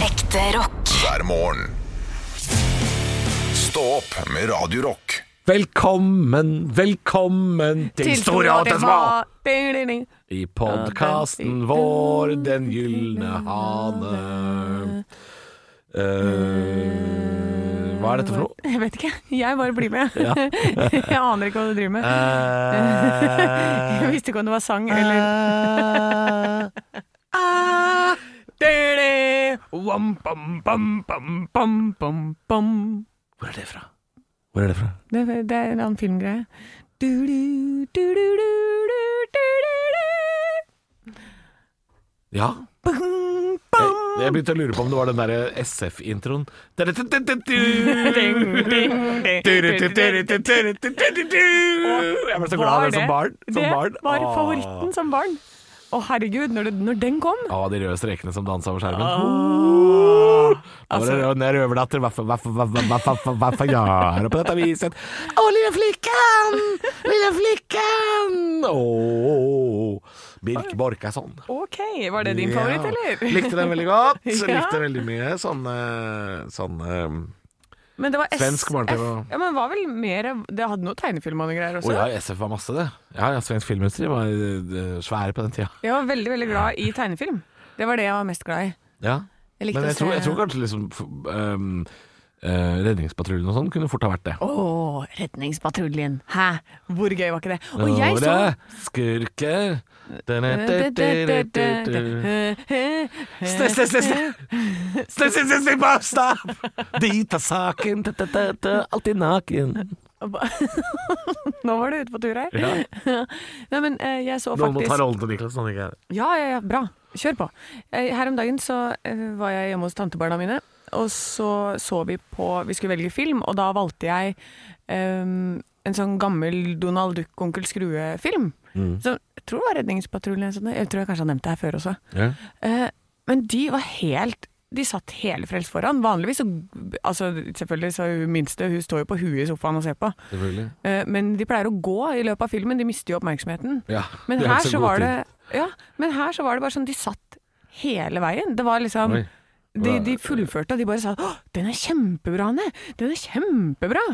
Ekte rock. hver morgen. Stå opp med Radio Rock. Velkommen, velkommen til, Store og til Små! Ding, ding, ding. I podkasten vår Den gylne hane. Eh, hva er dette for noe? Mm, Jeg vet ikke. Jeg bare blir med. jeg aner ikke hva du driver med. Jeg Eh, visste ikke om det var sang eller Didi. Eh, Wam, bam, bam, bam, bam, bam, bam. Hvor er det fra? Hvor er det fra? Det, det er en annen filmgreie. Du, du, du, du, du, du, du, du, Ja, du. Bang, bang. jeg begynte å lure på om det var den derre SF-introen. Ding, ding, ding. Jeg ble så glad i det som barn. Som det barn. var Åh. favoritten som barn. Å herregud, når, det, når den kom Å, de røde strekene som danser over skjermen. Åh. Når Altså- det rød- når røverdatter Hva faen gjør det på dette viset? Å, lille flikken! Lille flikken! Å, Birk Borkason. OK, var det din favoritt, eller? Likte den veldig godt. Ja. Likte veldig mye sånn, eh, sånn eh, Men det var Svensk barne-TV. SF. Ja, men var vel mer Det hadde noe tegnefilm og noe greier Å også. ja, SF var masse, det. Ja, ja, Svensk filmindustri var eh, svære på den tida. Jeg var veldig, veldig glad i tegnefilm. Det var det jeg var mest glad i. Ja. Jeg likte Men jeg å se tror, jeg tror kanskje liksom f- ehm, eh, Redningspatruljen og sånn kunne fort ha vært det. Å, Redningspatruljen. Hæ? Hvor gøy var ikke det? Og jeg så Nora, skurker Slipp, slipp, slipp, slipp. Slipp, slipp, slipp, slipp, bare Stopp! De tar saken, ta, ta, ta, ta, alltid naken. Nå var du ute på tur her. Ja. Nei, men eh, jeg så Noen må ta faktisk rollen til Niklas. Han ikke er Ja, ja, ja, bra. Kjør på. Eh, Her om dagen så eh, var jeg hjemme hos tantebarna mine, og så så vi på Vi skulle velge film, og da valgte jeg eh, en sånn gammel Donald Duck, Onkel Skrue-film. Som jeg tror var Redningspatruljen eller sånn. Jeg tror jeg kanskje har nevnt det her før også. Ja. Eh, Men de var helt de satt hele frelst foran. Vanligvis så altså Selvfølgelig, så er hun minste. Hun står jo på huet i sofaen og ser på. Selvfølgelig. Eh, Men de pleier å gå i løpet av filmen. De mister jo oppmerksomheten. Ja, Men det er her ikke så god var tid. det Ja, men her så var det bare sånn De satt hele veien. Det var liksom Oi. de, de fullførte, og de bare sa Å, den er kjempebra, Anne! Den er kjempebra!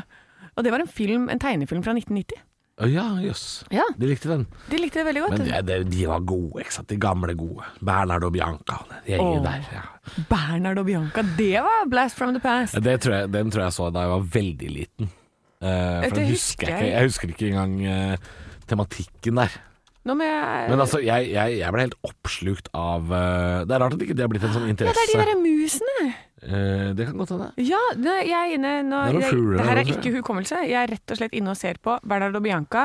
Og det var en film, en tegnefilm fra 1990. Å ja, jøss. Ja. De likte den. De likte det veldig godt. Men det, det, de var gode, ikke sant. De gamle gode. Bernhard og Bianca. De gjengen Åh. der. Ja. Bernhard og Bianca, det var blast from the past! Ja, Det tror jeg, den tror jeg så da jeg var veldig liten. Eh, Ja, for det den husker husker jeg jeg. ikke. Jeg husker ikke engang eh, tematikken der. Nå må jeg Men altså, jeg, jeg, jeg ble helt oppslukt av eh, Det er rart at ikke det har blitt en sånn Ja, det er de interesse. derre musene! Eh, det kan godt hende. Ja, det, jeg er inne nå, Det er noen jeg, fugler Det her der er også, ikke hukommelse. Jeg er rett og slett inne og ser på Bernhard og Bianca.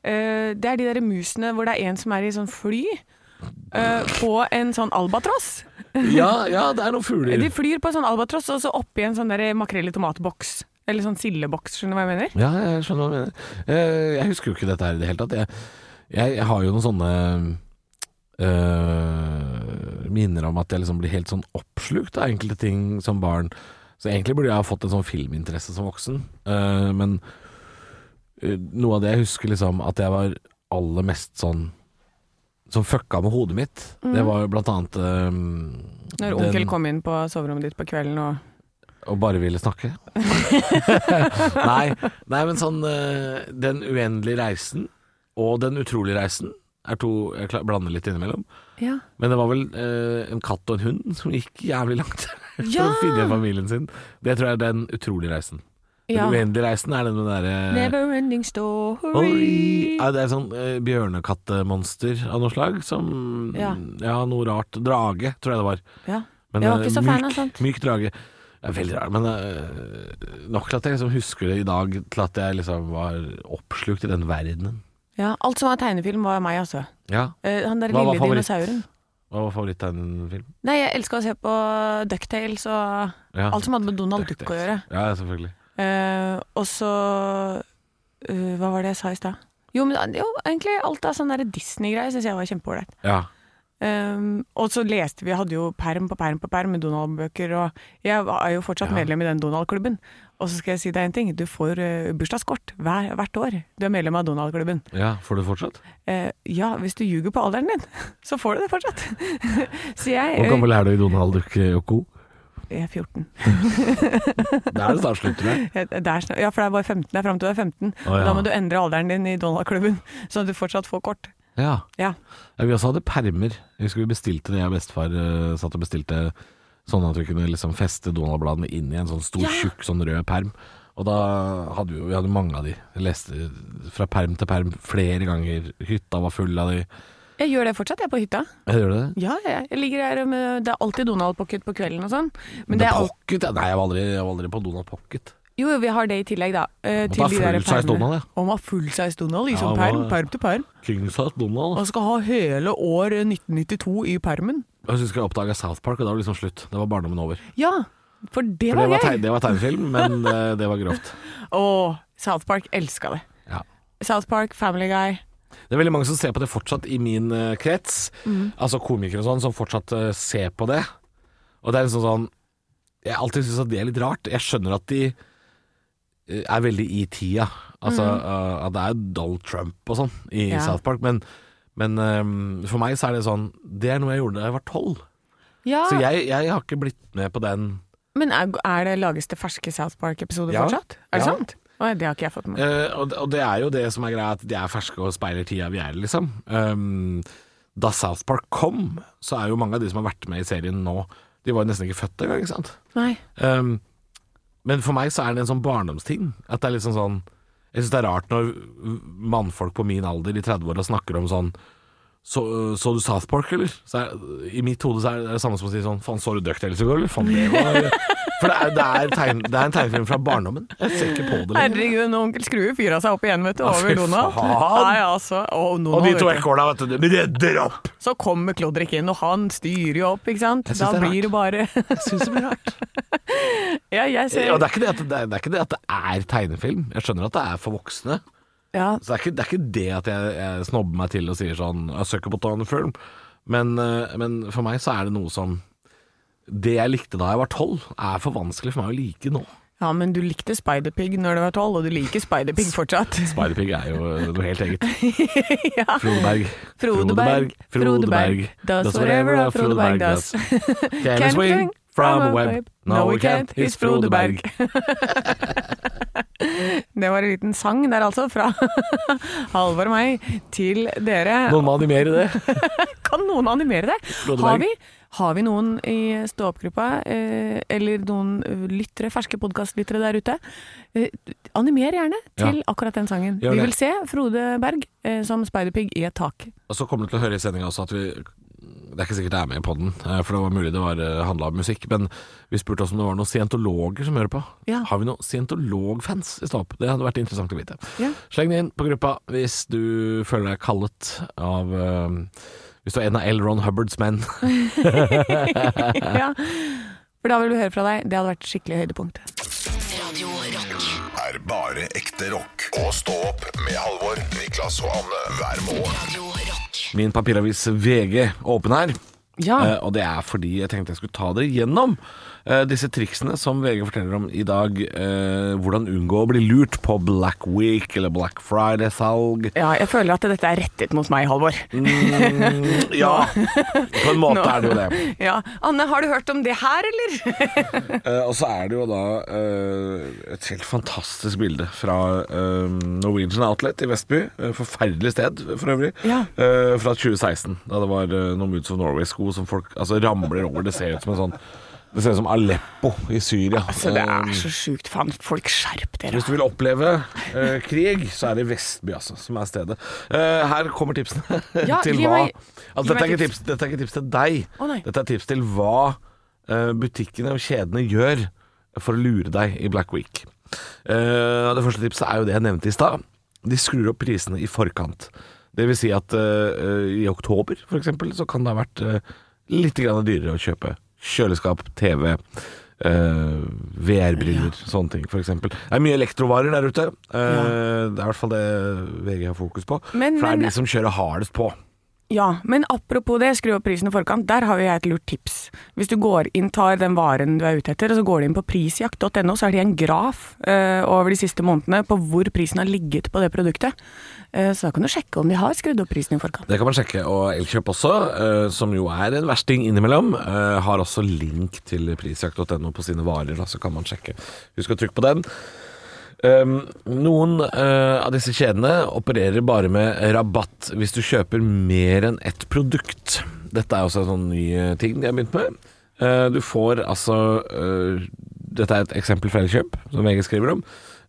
Eh, det er de der musene hvor det er en som er i sånn fly eh, på en sånn albatross. Ja, ja, det er noen fugler. De flyr på en sånn albatross og så oppi en sånn der makrell i tomatboks. Eller sånn sildeboks, skjønner du hva jeg mener? Ja, jeg skjønner hva du mener. Eh, jeg husker jo ikke dette her i det hele tatt. Jeg, jeg, jeg har jo noen sånne eh, minner om at jeg liksom blir helt sånn oppslukt av enkelte ting som barn. Så egentlig burde jeg ha fått en sånn filminteresse som voksen. Eh, men eh, noe av det jeg husker liksom at jeg var aller mest sånn som fucka med hodet mitt, det var jo blant annet eh, Mm. Når den- onkel kom inn på soverommet ditt på kvelden og og bare ville snakke. nei, nei, men sånn eh, Den uendelige reisen og Den utrolige reisen er to jeg klar- blander litt innimellom. Ja. Men det var vel eh, en katt og en hund som gikk jævlig langt for Ja! å finne familien sin. Det tror jeg er Den utrolige reisen. ja. Den uendelige reisen er den eh, med derre Never ending story. Oi! Ja, det er sånn eh, bjørnekattemonster av noe slag som Ja. ja, noe rart. Drage, tror jeg det var. Ja. Men, Jeg var eh, ikke så fan av sånt. Myk drage. Det er veldig rart, men eh, nok til at jeg liksom husker det i dag, til at jeg liksom var oppslukt i den verdenen. ja. Alt som var tegnefilm, var meg, altså. Ja. Eh, han der Hva var lille favoritt? dinosauren. Hva var favoritttegnefilm? Nei, jeg elska å se på Ducktales og Ja. alt som hadde med Donald Duck å gjøre. Ja, ja, selvfølgelig. Eh, og så eh, Hva var det jeg sa i stad? Jo, men eh, jo, egentlig alt av sånn Disney-greier syns jeg var kjempeålreit. Ja. Eh, og så leste vi, hadde jo perm på perm på perm med Donald-bøker, og jeg var- er jo fortsatt Ja. medlem i den Donald-klubben. Og så skal jeg si deg en ting, du får eh, bursdagskort hver, hvert år. Du er medlem av Donald-klubben. ja. Får du det fortsatt? Eh, ja, hvis du ljuger på alderen din, så får du det fortsatt. så jeg Hvor eh, gammel er du i Donald Duck, Joko? Jeg er 14. Da er det snart slutt, tror jeg. Jeg- Det er snart, ja, for det er bare 15. Det er fram til du er 15. Å, ja. Da må du endre alderen din i Donald-klubben, sånn at du fortsatt får kort. Ja. Ja. Ja, vi også hadde permer. Jeg husker vi bestilte det, jeg og bestefar eh, satt og bestilte sånn at vi kunne liksom feste Donald-bladene inn i en sånn stor, Ja. tjukk sånn rød perm. Og da hadde vi, jo- vi hadde mange av de. Jeg leste fra perm til perm flere ganger. Hytta var full av de. Jeg gjør det fortsatt, jeg, på hytta. Jeg gjør det. Ja, jeg, jeg ligger her med Det er alltid Donald-pocket på kvelden og sånn. Men Men det er alt, pocket? Ja. Nei, jeg var, aldri, jeg var aldri på Donald Pocket. jo, jo, vi har det i tillegg, da. eh, Måtte til ha de der full size permene. Donald, ja. Og man har full size Donald, Ja, liksom man- perm, perm til perm. King size Donald. Man skal ha hele år 1992 i permen. Jeg husker jeg oppdaga South Park, og da var det liksom slutt. Det var barndommen over. Ja, for det For det var var, teg gøy! det var tegnefilm, men eh, det var grovt. Å, South Park elska det. Ja. South Park, Family Guy. Det er veldig mange som ser på det fortsatt i min eh, krets. Altså komikere og sånn, som fortsatt eh, ser på det. Og det er liksom sånn Jeg alltid syns at det er litt rart. Jeg skjønner at de eh, er veldig i tida. Altså eh, at det er Donald Trump og sånn i Ja. South Park, men, men eh, for meg så er det sånn Det er noe jeg gjorde da jeg var tolv. Ja, Så jeg, jeg har ikke blitt med på den. Men er, er det lages det ferske South Park-episoder Ja. fortsatt? Er det Ja. sant? Å, det har ikke jeg fått med meg. Eh, og, og det er jo det som er greia, at de er ferske og speiler tida vi er i, liksom. Um, da South Park kom, så er jo mange av de som har vært med i serien nå, de var jo nesten ikke født engang, ikke sant. Nei. Um, men for meg så er det en sånn barndomsting. At det er litt sånn sånn Jeg syns det er rart når mannfolk på min alder i 30-åra snakker om sånn så, så du South Park, eller? Så er, I mitt hode så er det det samme som å si sånn Faen, så du DuckTales i går, eller? Faen, det var For det er, det, er tegn, det er en tegnefilm fra barndommen. Jeg ser ikke på det lenger. Herregud, når onkel Skrue fyra seg opp igjen, vet du, Ja, fy over Donald. Altså, faen. Nei, altså. Og, Donald, Og de to vet du. ekorna, vet du, de redder opp! Så kommer Klodrik inn, og han styrer jo opp, ikke sant. Jeg Da synes det er blir det bare Jeg syns det blir rart. Ja, jeg ser Og det er, ikke det, at det, er, det er ikke det at det er tegnefilm. Jeg skjønner at det er for voksne. Ja, Så det er ikke det, er ikke det at jeg, jeg snobber meg til og sier sånn Jeg søker på tegnefilm. Men, eh, men for meg så er det noe som Det jeg likte da jeg var tolv, er for vanskelig for meg å like nå. ja, men du likte Spiderpig når du var tolv, og du liker Spiderpig fortsatt. Spiderpig er jo noe helt eget. ja. Frodeberg. Frodeberg. Frodeberg. Does whatever a Frodeberg does. Can we swing from a web? No, we can't. It's Frodeberg. Det var en liten sang der altså, fra Halvor og meg til dere. Noen må animere det. Kan noen animere det? Loddeberg. Har vi, har vi noen i stå-opp-gruppa, eh, eller noen eh, lyttere, ferske podkastlyttere der ute? Eh, animer gjerne til akkurat den sangen. Gjør Vi det. vil se Frode Berg eh, som speiderpigg i et tak. Og så kommer du til å høre i sendinga også at vi Det er ikke sikkert det er med i podden, eh, for det var mulig det var handla om musikk. Men vi spurte også om det var noen scientologer som hører på. Ja. Har vi noen scientologfans i Stå opp? Det hadde vært interessant å vite. Ja. Sleng det inn på gruppa hvis du føler deg kallet av eh, Hvis du er en av L. Ron Hubbards menn. ja. For da vil vi høre fra deg. Det hadde vært skikkelig høydepunkt. Radio Rock. Er bare ekte rock. Og stå opp med Halvor, Niklas og Anne hver morgen. Radio Rock. Min papiravis VG åpen her. Ja. Eh, og det er fordi jeg tenkte jeg skulle ta dere gjennom eh, disse triksene som VG forteller om i dag. eh, hvordan unngå å bli lurt på Black Week eller Black Friday-salg. ja, jeg føler at dette er rettet mot meg, Halvor. Mm, ja, på en måte er det jo det. Ja. Anne, har du hørt om det her, eller? Eh, og så er det jo da eh, et helt fantastisk bilde fra eh, Norwegian Outlet i Vestby. Eh, forferdelig sted for øvrig. Ja. Eh, fra 2016, da det var eh, noen Moods of Norway-sko som folk altså, ramler over. Det ser ut som en sånn Det ser ut som Aleppo i Syria. Så Altså, det Eh, er så sjukt. Faen, folk skjerp dere. Hvis du vil oppleve eh, krig, så er det Vestby altså, som er stedet. Eh, her kommer tipsene Ja, til gi hva meg- altså, dette, gi meg er ikke tips. tips, dette er ikke tips til deg. Å, nei. dette er tips til hva eh, butikkene og kjedene gjør for å lure deg i Black Week. Eh, det første tipset er jo det jeg nevnte i stad. De skrur opp prisene i forkant. Det vil si at eh, i oktober for eksempel, så kan det ha vært eh, litt grann dyrere å kjøpe kjøleskap, TV, eh, VR-briller, sånne ting for eksempel. Det er mye elektrovarer der ute. Eh, Det er i hvert fall det VG har fokus på. Men- for det er men- de som kjører hardest på. Ja, men apropos det, skru opp prisen i forkant. Der har jo jeg et lurt tips. Hvis du går inn, tar den varen du er ute etter, og så går du inn på prisjakt.no, så er det en graf eh, over de siste månedene på hvor prisen har ligget på det produktet. Eh, så da kan du sjekke om de har skrudd opp prisen i forkant. Det kan man sjekke. Og Elkjøp også, eh, som jo er en versting innimellom, eh, har også link til prisjakt.no på sine varer, da, så kan man sjekke. Husk å trykke på den. Um, noen eh, av disse kjedene opererer bare med rabatt hvis du kjøper mer enn ett produkt. Dette er også en sånn ny eh, ting de har begynt med. Eh, du får altså eh, Dette er et eksempel fra Elkjøp, som VG skriver om.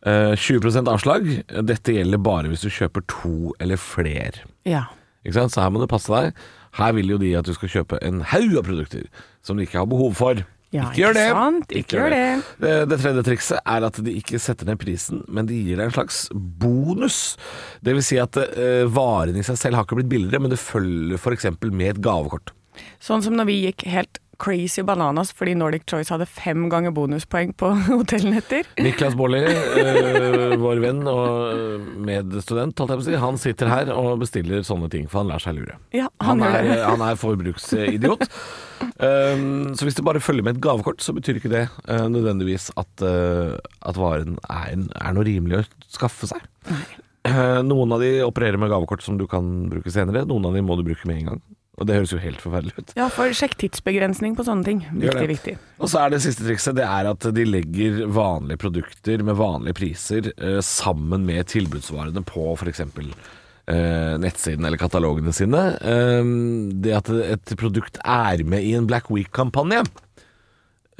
Eh, 20 avslag. Dette gjelder bare hvis du kjøper to eller flere. Ja. Ikke sant? Så her må du passe deg. Her vil jo de at du skal kjøpe en haug av produkter som du ikke har behov for. Ja, ikke gjør ikke det! sant? Ikke gjør det. Eh, Det tredje trikset er at de ikke setter ned prisen, men de gir deg en slags bonus. Det vil si at eh, varen i seg selv har ikke blitt billigere, men det følger f.eks. med et gavekort. Sånn som når vi gikk helt crazy bananas fordi Nordic Choice hadde fem ganger bonuspoeng på hotellnetter. Niklas Baarli, eh, vår venn og eh, medstudent, holdt jeg på å si, han sitter her og bestiller sånne ting, for han lar seg lure. Ja, Han han, er, eh, gjør det. han er forbruksidiot. Um, så hvis det bare følger med et gavekort, så betyr ikke det eh, nødvendigvis at, eh, at varen er, en- er noe rimelig å skaffe seg. Eh, noen av de opererer med gavekort som du kan bruke senere, noen av de må du bruke med en gang. Og det høres jo helt forferdelig ut. Ja, for sjekk tidsbegrensning på sånne ting. Gjør Viktig, det. viktig. Og så er det siste trikset det er at de legger vanlige produkter med vanlige priser eh, sammen med tilbudsvarene på f.eks. Eh, nettsiden eller katalogene sine. Eh, det at et produkt er med i en Black Week-kampanje,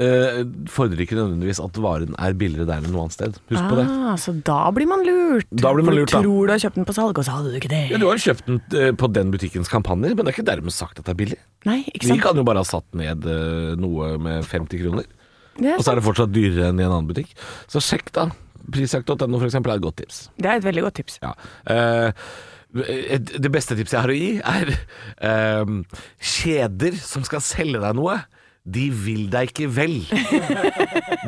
eh, fordrer ikke nødvendigvis at varen er billigere der enn noe annet sted. Husk på det. Ah, så da blir man lurt. Da blir man For lurt, da. Du tror du har kjøpt den på salg, og så hadde du ikke det. Ja, du har jo kjøpt den eh, på den butikkens kampanjer, men det er ikke dermed sagt at det er billig. Nei, ikke De sant. kan jo bare ha satt ned eh, noe med 50 kroner. Det er, Og så sant. er det fortsatt dyrere enn i en annen butikk. Så sjekk da. Prisjakt.no for eksempel er et godt tips. det er et veldig godt tips. Ja. Eh, et- det beste tipset jeg har å gi, er eh, kjeder som skal selge deg noe. De vil deg ikke vel.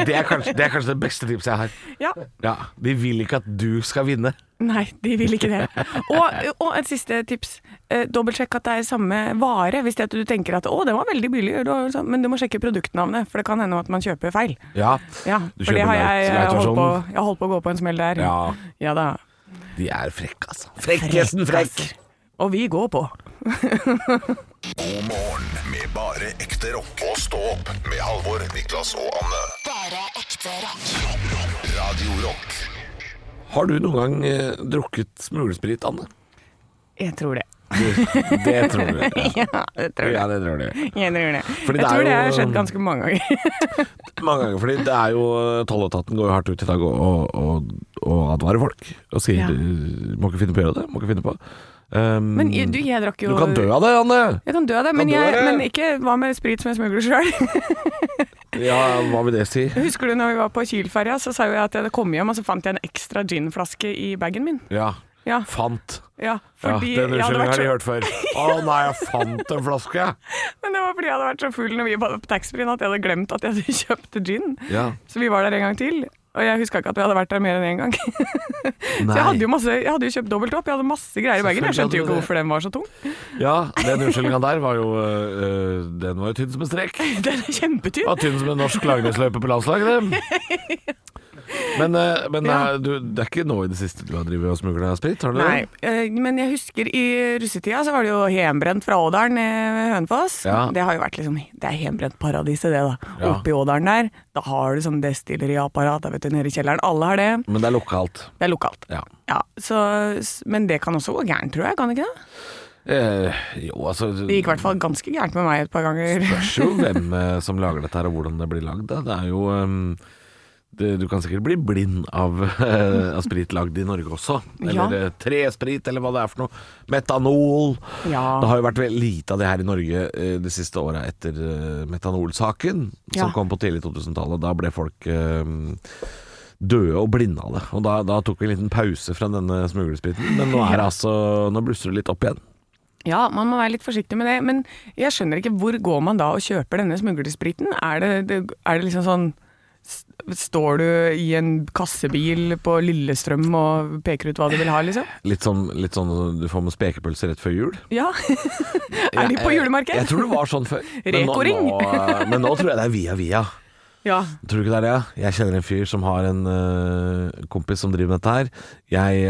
Det er kanskje det, er kanskje det beste tipset jeg har. Ja, Ja, De vil ikke at du skal vinne. Nei, de vil ikke det. Og, og et siste tips. Eh, Dobbeltsjekk at det er samme vare. Hvis det at du tenker at 'å, den var veldig billig', du har- sånn», men du må sjekke produktnavnet, for det kan hende at man kjøper feil. Ja, Ja, Du for det kjøper har jeg, jeg, light- holdt på, light-versjonen. jeg holdt på å gå på en smell der. Ja. Ja da. De er frekke, altså. Frekkesen frekk! Og vi går på. God morgen med bare ekte rock. Og stå opp med Halvor, Niklas og Anne. Bare ekte rock. Radio Rock. Har du noen gang eh, drukket smulesprit, Anne? Jeg tror det. Det tror du. Ja, jeg tror det. Ja, det tror du. Jeg tror det. Fordi det jeg er tror det jo- har skjedd ganske mange ganger. mange ganger, fordi det er jo tolletaten går jo hardt ut i dag og, og, og, og advarer folk. Og sier Ja. eh, må ikke finne på å gjøre det, må ikke finne på. Um, Men jeg- du, jeg drakk du jo kan dø av det, Anne! Jeg kan dø av det, men, dø av jeg, det. men ikke hva med sprit som jeg smugler sjøl? Ja, hva vil det si? Husker du når vi var på Kiel-ferja, så sa jo jeg at jeg hadde kommet hjem, og så fant jeg en ekstra ginflaske i bagen min. Ja, Ja, fant. ja Ja, fordi den jeg unnskyldningen hadde vært har de så, hørt før. Å nei, jeg fant en flaske! men det var fordi jeg hadde vært så full når vi var på taxfree-en at jeg hadde glemt at jeg hadde kjøpt gin. Ja. Så vi var der en gang til, og jeg huska ikke at vi hadde vært der mer enn én gang. Så Nei. jeg hadde, jo masse, jeg hadde jo kjøpt dobbelt opp, jeg hadde masse greier i bagen. Jeg skjønte jo ikke hvorfor den var så tung. ja, den unnskyldninga der var jo eh, Den var jo tynn som en strek. Den er kjempetynn. Var tynn som en norsk langrennsløype på landslaget, det. Men, eh, men Ja. eh, du, det er ikke nå i det siste du har drevet og smugla sprit? Har du det? Nei, eh, men jeg husker i russetida så var det jo hjemmebrent fra Ådalen eh, ved Hønefoss. Ja. Det har jo vært liksom Det er hjemmebrentparadiset, det, da. Ja. Oppe i Ådalen der. Da har du sånn destilleriapparat da, vet du, nede i kjelleren. Alle har det. Men det er lokalt. Det er lokalt. Ja. Ja, så, s- men det kan også gå gærent, tror jeg. Kan det ikke det? Eh, jo, altså Det gikk i hvert fall ganske gærent med meg et par ganger. spørs jo hvem eh, som lager dette her, og hvordan det blir lagd. da. Det er jo ehm, det, Du kan sikkert bli blind av, eh, av sprit lagd i Norge også. Ja. Eller eh, tresprit, eller hva det er for noe. Metanol. Ja. Det har jo vært veldig lite av det her i Norge eh, de siste åra etter eh, metanolsaken, Ja. som kom på tidlig 2000-tallet. Da ble folk ehm, døde og blinde av det. Og da, da tok vi en liten pause fra denne smuglespriten. Men nå er det altså Nå blusser det litt opp igjen. Ja, man må være litt forsiktig med det. Men jeg skjønner ikke, hvor går man da og kjøper denne smuglerspriten? Er det, det, er det liksom sånn s- Står du i en kassebil på Lillestrøm og peker ut hva du vil ha, liksom? Litt sånn, litt sånn du får med spekepølse rett før jul. Ja. er de på Jeg, jeg julemarked? tror det var sånn før. Men nå- Reko-ring. nå- Men nå tror jeg det er via via. Ja. Tror du ikke det er det? ja? Jeg kjenner en fyr som har en øh, kompis som driver med dette her. Jeg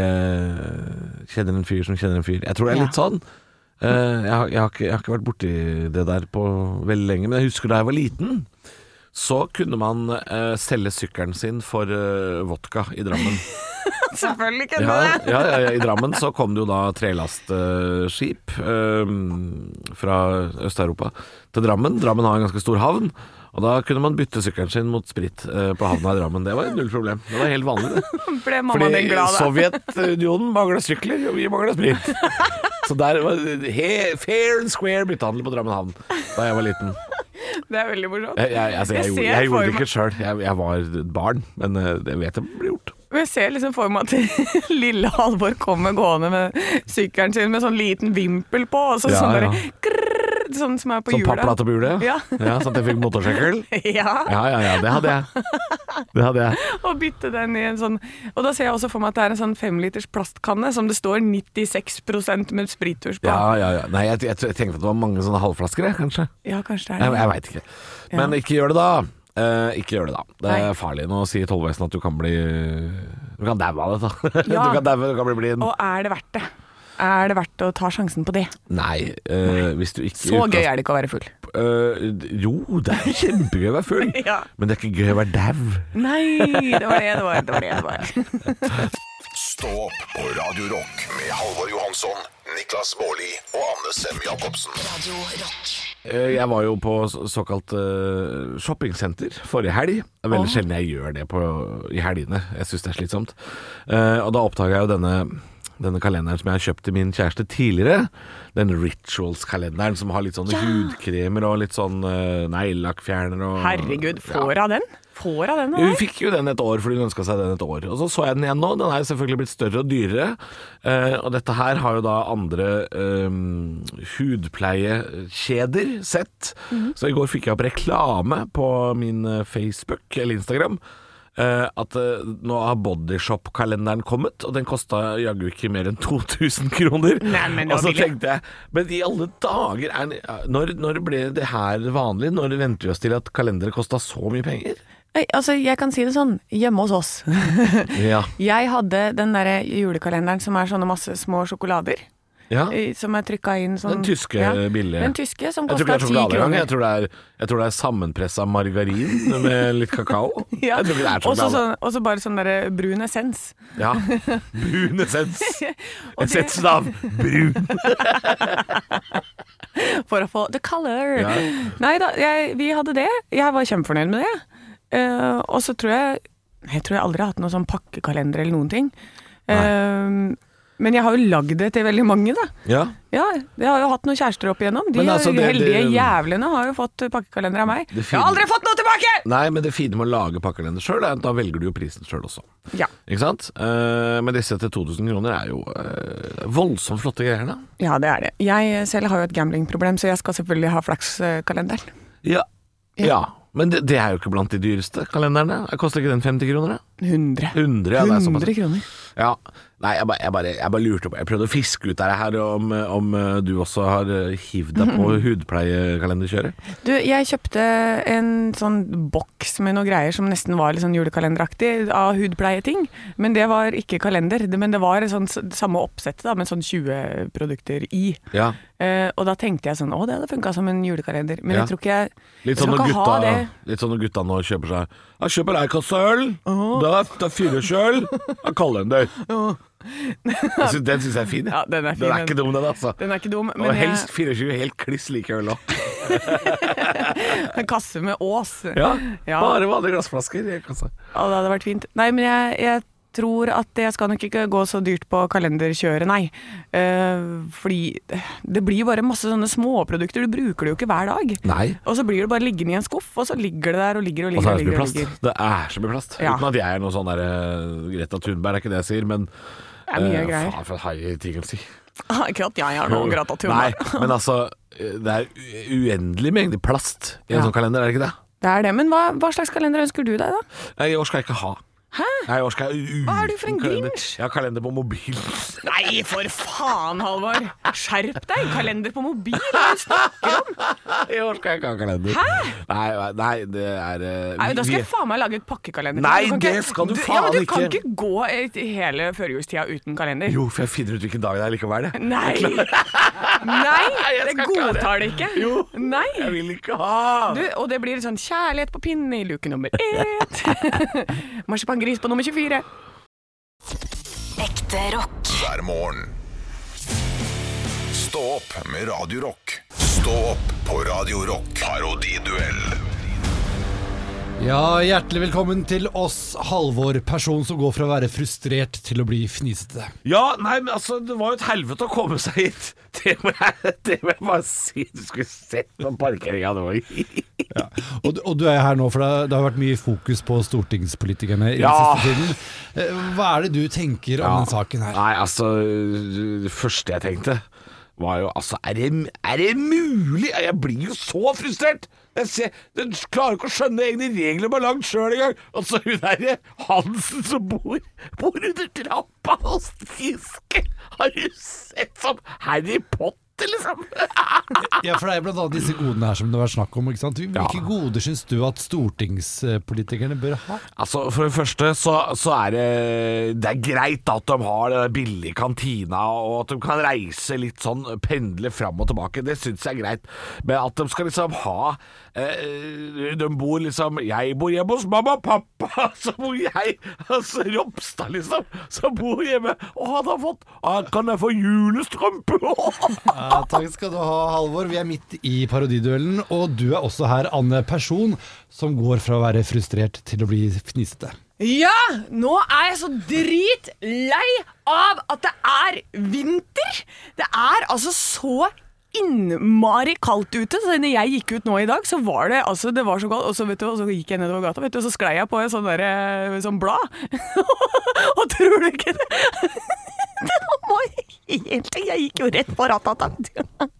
øh, kjenner en fyr som kjenner en fyr. Jeg tror det er litt sånn. Eh, jeg, har, jeg, har ikke, jeg har ikke vært borti det der på veldig lenge, men jeg husker da jeg var liten. Så kunne man eh, selge sykkelen sin for eh, vodka i Drammen. Selvfølgelig kunne Ja, det! ja, ja, ja, I Drammen så kom det jo da trelastskip eh, fra Øst-Europa til Drammen. Drammen har en ganske stor havn, og da kunne man bytte sykkelen sin mot sprit eh, på havna i Drammen. Det var null problem. Det var helt vanlig, det. Ble mamma Fordi din glad, da? Sovjetunionen mangla sykler, og vi mangla sprit. Så der var he, fair and square byttehandel på Drammen havn da jeg var liten. Det er veldig morsomt. Jeg, jeg, altså, jeg, Jeg gjorde- ser jeg for gjorde det meg- ikke sjøl, jeg, jeg var barn, men eh, det vet jeg ble gjort. Og jeg ser liksom for meg at lille Halvor kommer gående med sykkelen sin med sånn liten vimpel på, og så Ja, sånn ja. derre krrrr, Sånn som er på Som hjulet. papplate på hjulet? Ja. ja. Sånn at jeg fikk motorsykkel? Ja, Ja, ja, ja, det hadde jeg. Det hadde jeg. og bytte den i en sånn Og da ser jeg også for meg at det er en sånn femliters plastkanne som det står 96 med sprittusj på. Ja, ja, ja. Nei, jeg, jeg, jeg tenkte at det var mange sånne halvflasker, jeg, kanskje. Ja, kanskje det Jeg, er det. jeg veit ikke. Men Ja. ikke gjør det, da. Eh, ikke gjør det, da. Det er Nei. farlig. Nå sier tollvesenet at du kan bli Du kan daue av dette. Ja. Du kan daue, du kan bli blind. Og er det verdt det? Er det verdt å ta sjansen på det? Nei, eh, hvis du ikke Eh, Så gøy er det ikke å være full. Jo, det er kjempegøy å være full, Ja. men det er ikke gøy å være dau. Nei, det var det det var. Det var det det var. Stå opp på Radio Rock med Halvor Johansson, Niklas Baarli og Anne Sem Jacobsen. Radio Rock. Eh, Jeg var jo på så- såkalt eh, shoppingsenter forrige helg. Det er veldig sjelden jeg gjør det på, i helgene. Jeg syns det er slitsomt. Eh, og da oppdaga jeg jo denne, denne kalenderen som jeg har kjøpt til min kjæreste tidligere. Den Rituals-kalenderen som har litt sånne hudkremer og litt sånn uh, neglelakkfjerner og Herregud, Ja. får av den? Får av den? Hun Her? fikk jo den et år fordi hun ønska seg den et år. Og så så jeg den igjen nå. Den er jo selvfølgelig blitt større og dyrere. Eh, og dette her har jo da andre eh, hudpleiekjeder sett. Mhm. Så i går fikk jeg opp reklame på min eh, Facebook eller Instagram. eh, at eh, nå har Bodyshop-kalenderen kommet, og den kosta jaggu ikke mer enn 2000 kroner. Nei, men og det var så billig. tenkte jeg Men i alle dager er, når, når ble det her vanlig? Når venter vi oss til at kalendere kosta så mye penger? Nei, Altså, jeg kan si det sånn. Hjemme hos oss. Ja. Jeg hadde den derre julekalenderen som er sånne masse små sjokolader. Ja. eh, Som er trykka inn sånn Den tyske billige. Den tyske som Jeg tror ikke kosta det er ti sjokolade engang. Jeg kroner. tror det er, jeg tror det er sammenpressa margarin med litt kakao. Ja. Jeg tror ikke det er Og så sjokolade. sånn, også bare sånn derre brun essens. Ja. Brun essens. Og det- Essensen av brun. For å få the color. Ja. Nei da, jeg, vi hadde det. Jeg var kjempefornøyd med det. Eh, og så tror jeg Jeg tror jeg aldri har hatt noen sånn pakkekalender eller noen ting. Eh, men jeg har jo lagd det til veldig mange, da. Ja. Ja, jeg har jo hatt noen kjærester opp igjennom. De Men altså, det- heldige det- jævlene har jo fått pakkekalender av meg. Det Jeg har fine- aldri fått noe tilbake! Nei, men det fine med å lage pakkekalender sjøl, er at da velger du jo prisen sjøl også. Ja, Ikke sant? Eh, men disse til 2000 kroner er jo eh, voldsomt flotte greier, da. ja, det er det. Jeg selv har jo et gamblingproblem, så jeg skal selvfølgelig ha flakskalenderen. Ja. ja. Men det, det er jo ikke blant de dyreste kalenderne. Koster ikke den 50 kroner? da? 100. 100, ja, det er såpass. 100 kroner. Ja, Nei, jeg bare, jeg, bare, jeg bare lurte på Jeg prøvde å fiske ut dette her om, om eh, du også har eh, hivd deg på hudpleiekalenderkjøret. Du, jeg kjøpte en sånn boks med noen greier som nesten var litt sånn julekalenderaktig, av hudpleieting. Men det var ikke kalender, det- men det var et sånn s- samme oppsettet da, med sånn 20 produkter i. Ja. Eh, og da tenkte jeg sånn, å det hadde funket som en julekalender. Ja. Men jeg tror ikke jeg, Litt jeg sånn, skal når ikke ha gutta, det. litt sånn når gutta nå kjøper seg Jeg kjøper ei kasse øl, det er, det er fire kjøl, det er kalender. Jeg synes, den syns jeg er fin. jeg. Ja, den er fin, Den er men- ikke dum, den, altså. Den er ikke dum, men eh, Og jeg- helst 24 helt kliss like øl òg. En kasse med ås. Ja. Ja. Bare vanlige glassflasker altså. i kassa. Ja, det hadde vært fint. Nei, men jeg, jeg tror at jeg skal nok ikke gå så dyrt på kalenderkjøret, nei. Eh, fordi det blir bare masse sånne småprodukter, du bruker det jo ikke hver dag. Nei. Og så blir det bare liggende i en skuff, og så ligger det der og ligger og Og så er ligger. det så mye ligger, plast. Det er så mye plast. Ja. Uten at jeg er noe sånn der eh, Greta Thunberg, det er ikke det jeg sier, men Det er mye Eh, greier. Faen for en haier ting å si. Ikke at jeg har noe gratatur. Nei, men altså eh, Det er u- uendelig mengde plast i en Ja. sånn kalender, er det ikke det? Det er det. Men hva, hva slags kalender ønsker du deg, da? Nei, I år skal jeg ikke ha. Hæ? Nei, i år skal jeg Hva er du for en uten kalender. Grinch? Jeg har kalender på mobilen. Nei, for faen, Halvor! Skjerp deg! Kalender på mobil! hva er det du snakker om? I år skal jeg ikke ha kalender. Hæ? Nei, nei det er eh, Nei, men Da skal vi- jeg faen meg lage et pakkekalender. Nei, Du kan det skal du ja, men faen Du kan ikke. ikke gå et- hele førjulstida uten kalender. Jo, for jeg finner ut hvilken dag det er likevel. jeg. Nei! Nei, Jeg skal jeg ikke ha det. godtar det ikke. Jo. Nei. Jeg vil ikke ha! Du, og det blir sånn kjærlighet på pinnen i luke nummer ett. Marsipangris på nummer 24. Ekte rock. hver morgen. Stå opp med Radio Rock. Stå opp på Radio Rock. Parodiduell Ja, hjertelig velkommen til oss, Halvor, person som går fra å være frustrert til å bli fnisete. Ja, nei, men altså, det var jo et helvete å komme seg hit. Det må jeg, det må jeg bare si. Du skulle sett på parkeringa nå. Og, du- og du er her nå, for det, det har vært mye fokus på stortingspolitikerne i Ja. den siste tiden. Eh, Hva er det du tenker om den saken her? Nei, altså, det første jeg tenkte var jo altså Er det, er det mulig? Jeg blir jo så frustrert! Jeg ser, den klarer ikke å skjønne egne regler man har lagd sjøl engang. Altså, hun derre Hansen som bor, bor under trappa hos fisken, har du sett som Harry Potter, liksom? Ja, for det er blant annet disse godene her som det har vært snakk om, ikke sant? Hvilke goder syns du at stortingspolitikerne bør ha? Altså, For det første så, så er det Det er greit at de har den der billige kantina, og at de kan reise litt sånn, pendle fram og tilbake. Det syns jeg er greit. Men at de skal liksom ha eh, De bor liksom Jeg bor hjemme hos mamma og pappa, så bor jeg altså Ropstad, liksom, som bor hjemme. Og han har fått ah, Kan jeg få julestrømpe? Ja, takk skal du ha, Halvor. Vi er midt i parodiduellen, og du er også her, Anne, person som går fra å være frustrert til å bli fnisete. Ja, nå er jeg så dritlei av at det er vinter. Det er altså så innmari kaldt ute. Så når jeg gikk ut nå i dag, så var det altså, det var så kaldt. Og så, vet du, og så gikk jeg nedover gata, vet du, og så sklei jeg på et sånt, der, eh, sånt blad. og tror du ikke det? det var helt, jeg gikk jo rett på ratata.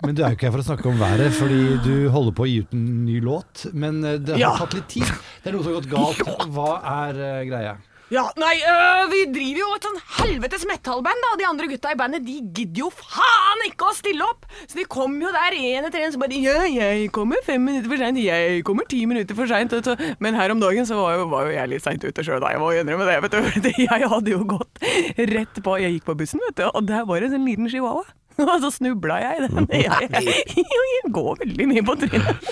Men du er jo ikke her for å snakke om været, fordi du holder på å gi ut en ny låt. Men eh, det har Ja. tatt litt tid. Det er noe som har gått galt. Hva er eh, greia? Ja, nei, øh, vi driver jo et sånn helvetes metalband, da. De andre gutta i bandet de gidder jo faen ikke å stille opp! Så de kom jo der én etter én så bare Ja, jeg kommer fem minutter for seint, jeg kommer ti minutter for seint. Men her om dagen så var jo, var jo jeg litt seint ute sjøl, da. Jeg må jo innrømme det, vet du. Fordi Jeg hadde jo gått rett på Jeg gikk på bussen, vet du, og der var det en sånn liten chihuahua. Og så snubla jeg i den. Jeg, jeg går veldig mye på trynet.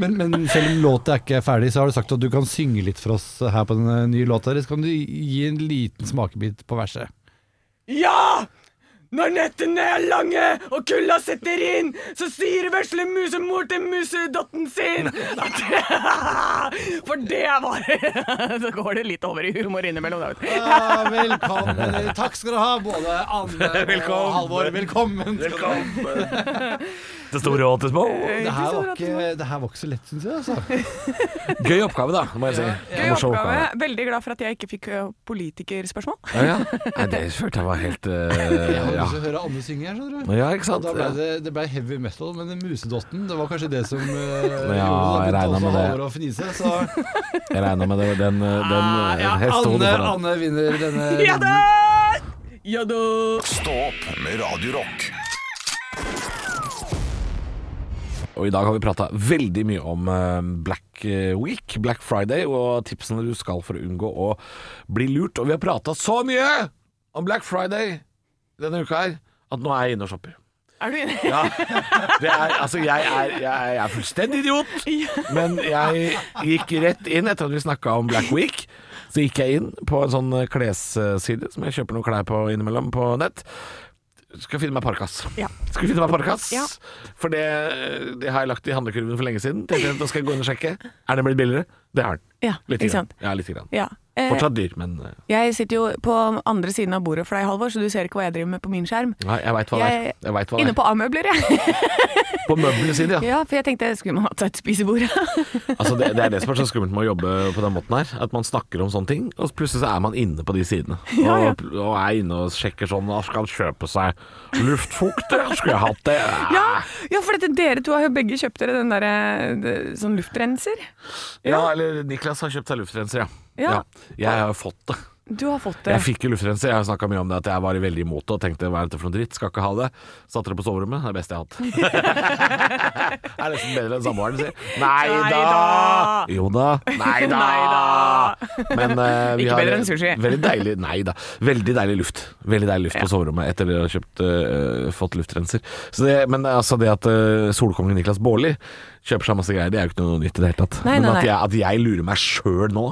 Men, men selv om låta er ikke ferdig, så har du sagt at du kan synge litt for oss her på den nye låta. Eller så kan du gi en liten smakebit på verset. Ja! Når nettene er lange og kulda setter inn, så sier vesle musemor til musedotten sin at For det var Så går det litt over i humor innimellom, da, vet du. Ja, velkommen. Eller, Takk skal du ha, både Anne Velkommen. og Halvor. Velkommen. Velkommen. Det store og det små. Det her, var ikke, det her var ikke så lett, syns jeg. Altså. Gøy oppgave, da, må jeg si. Gøy Morsom oppgave. Veldig glad for at jeg ikke fikk eh, politikerspørsmål. Ja, ja. Nei, det følte jeg var helt eh, Jeg har ja. lyst til å høre Anne synge her, skjønner du. ja, ikke Og sant? Da ble Ja. det, det ble heavy metal, men den musedotten det var kanskje det som uh, Ja, jeg gjorde det. Da regner begynte også med det. Halvor å fnise. Så Jeg regna med det. Den, eh, den eh, helt sto Anne, det foran. Anne vinner denne Ja da! Ja da! Stå opp med Radio Rock. Og i dag har vi prata veldig mye om eh, Black Week, Black Friday, og tipsene du skal for å unngå å bli lurt. Og vi har prata så mye om Black Friday denne uka her, at nå er jeg inne og shopper. Er du inne? Ja. Det er, altså, jeg er, jeg er fullstendig idiot, men jeg gikk rett inn etter at vi snakka om Black Week. Så gikk jeg inn på en sånn klesside som jeg kjøper noen klær på innimellom på nett. Skal finne meg parkas. Ja. Skal finne meg parkas Ja. For det, det har jeg lagt i handlekurven for lenge siden. Tenkte jeg, Nå skal jeg gå inn og sjekke. Er den blitt billigere? Det er den. Ja, Litt ikke sant? Grann. Ja, litt grann. Ja. Eh, Fortsatt dyr, men eh, Jeg sitter jo på andre siden av bordet for deg, Halvor, så du ser ikke hva jeg driver med på min skjerm. Nei, jeg veit hva det er. Jeg- Jeg vet hva det Inne er. på A-møbler, jeg. På møbelsiden, ja. Ja, for jeg tenkte skulle man hatt seg et spisebord. Altså, det, det er det som er så skummelt med å jobbe på den måten her. At man snakker om sånne ting, og plutselig så er man inne på de sidene. Og, Ja, ja. og er inne og sjekker sånn «Å, Skal han kjøpe seg luftfukter? Skulle jeg hatt det? Ja, Ah. ja for dette, dere to har jo begge kjøpt dere den derre det- sånn luftrenser. ja, eller Niklas har kjøpt seg luftrenser, ja. Ja. Jeg har jo fått det. Du har fått eh, det. Jeg fikk jo luftrenser. Jeg har snakka mye om det at jeg var veldig imot det og tenkte hva er dette for noe dritt, skal ikke ha det. Satte det på soverommet, det er det beste jeg har hatt. er nesten bedre enn samboeren sier. Nei Nei da! da! Jo da. Nei da! Nei Men eh, vi Ikke har bedre enn sushi. Veldig deilig, nei da. Veldig deilig luft. Veldig deilig luft på soverommet etter at dere har kjøpt, eh, fått luftrenser. Så det, men altså det at eh, solkongen Niklas Baarli kjøper seg masse greier, det er jo ikke noe nytt i det hele tatt. Nei, men nei, at nei. jeg, at jeg lurer meg sjøl nå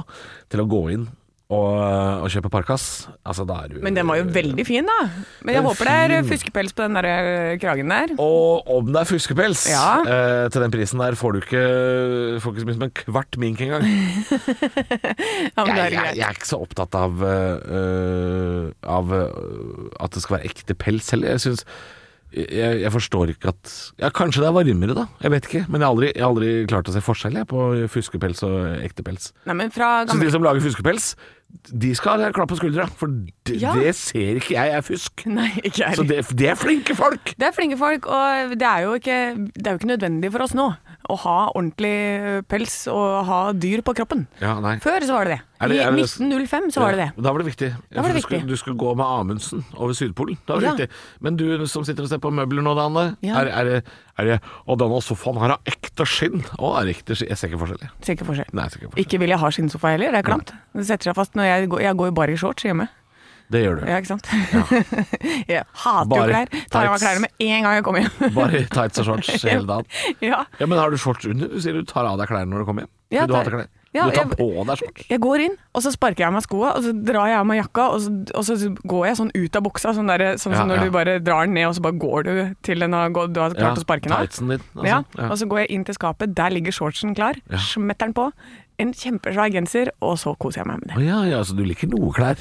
til å gå inn og, og kjøpe parkas, altså da er du Men den var jo veldig fin, da. Men Den jeg er håper det er eh, fin. fuskepels på den der ø, kragen der. Og om det er fuskepels Ja. eh, til den prisen der, får du ikke, får ikke så mye som en kvart mink engang. Ja, men Jeg, det er jeg, greit. jeg er ikke så opptatt av, eh, av eh, at det skal være ekte pels heller. Jeg synes jeg, jeg forstår ikke at Ja, kanskje det er varmere, da. Jeg vet ikke. Men jeg har aldri, jeg har aldri klart å se forskjell jeg, på fuskepels og ekte pels. Nei, men fra Så gamle de som lager fuskepels, de skal ha klapp på skuldra. For det, Ja. det ser ikke jeg er fusk. Nei, ikke jeg. Så det, det er flinke folk! Det er flinke folk, og det er, jo ikke, det er jo ikke nødvendig for oss nå å ha ordentlig eh, pels og ha dyr på kroppen. Ja, nei. Før så var det det. Er det- I er det- 1905 så var det det. Ja, Da var det viktig. Da var det For du, skulle, viktig. du skulle gå med Amundsen over Sydpolen. Da var det Ja. viktig. Men du som sitter og ser på møbler nå, Danne. Ja. Er, er, det- er det Og denne sofaen her har ekte skinn! Å, er det ekte skinn? Jeg ser ikke forskjell, jeg. Ser ikke forskjell. Nei, jeg ser ikke forskjell. Ikke vil jeg ha skinnsofa heller, det er klamt. Det setter seg fast når jeg går, jeg går jo bare i shorts hjemme. Det gjør du. Ja, ikke sant? jeg hater Bare jo klær. Tar av meg tights. klærne med en gang jeg kommer hjem. Bare i tights og shorts hele dagen. ja. Ja, Men har du shorts under? Du sier du tar av deg klærne når du kommer hjem. Men Ja, du, har tar- ikke klær. Ja, du tar jeg- på deg shorts. Jeg går inn, og så sparker jeg av meg skoa, og så drar jeg av meg jakka, og så, og så går jeg sånn ut av buksa, sånn, der, sånn Ja, som når ja. du bare drar den ned, og så bare går du til den har gått, du har klart å sparke den av. tightsen din. altså. ja, Ja. og så går jeg inn til skapet, der ligger shortsen klar, smetter den på, en kjempesvær genser, og så koser jeg meg med Å, ja, ja, så du liker noe klær.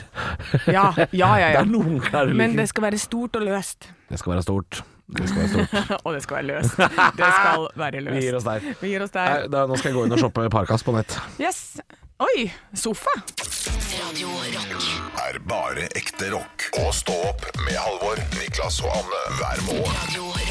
det. Ja, ja, Det ja. ja. er noen klær du Men liker. det skal være stort og løst. det skal være stort. Det skal være stort. og det skal være løst. Det skal være løst. Vi gir oss der. Vi gir oss Nei, der. da, nå skal jeg gå inn og shoppe Parkas på nett. Yes. Oi, sofa. Radio Rock. er bare ekte rock. Og stå opp med Halvor, Niklas og Anne hver morgen. Radio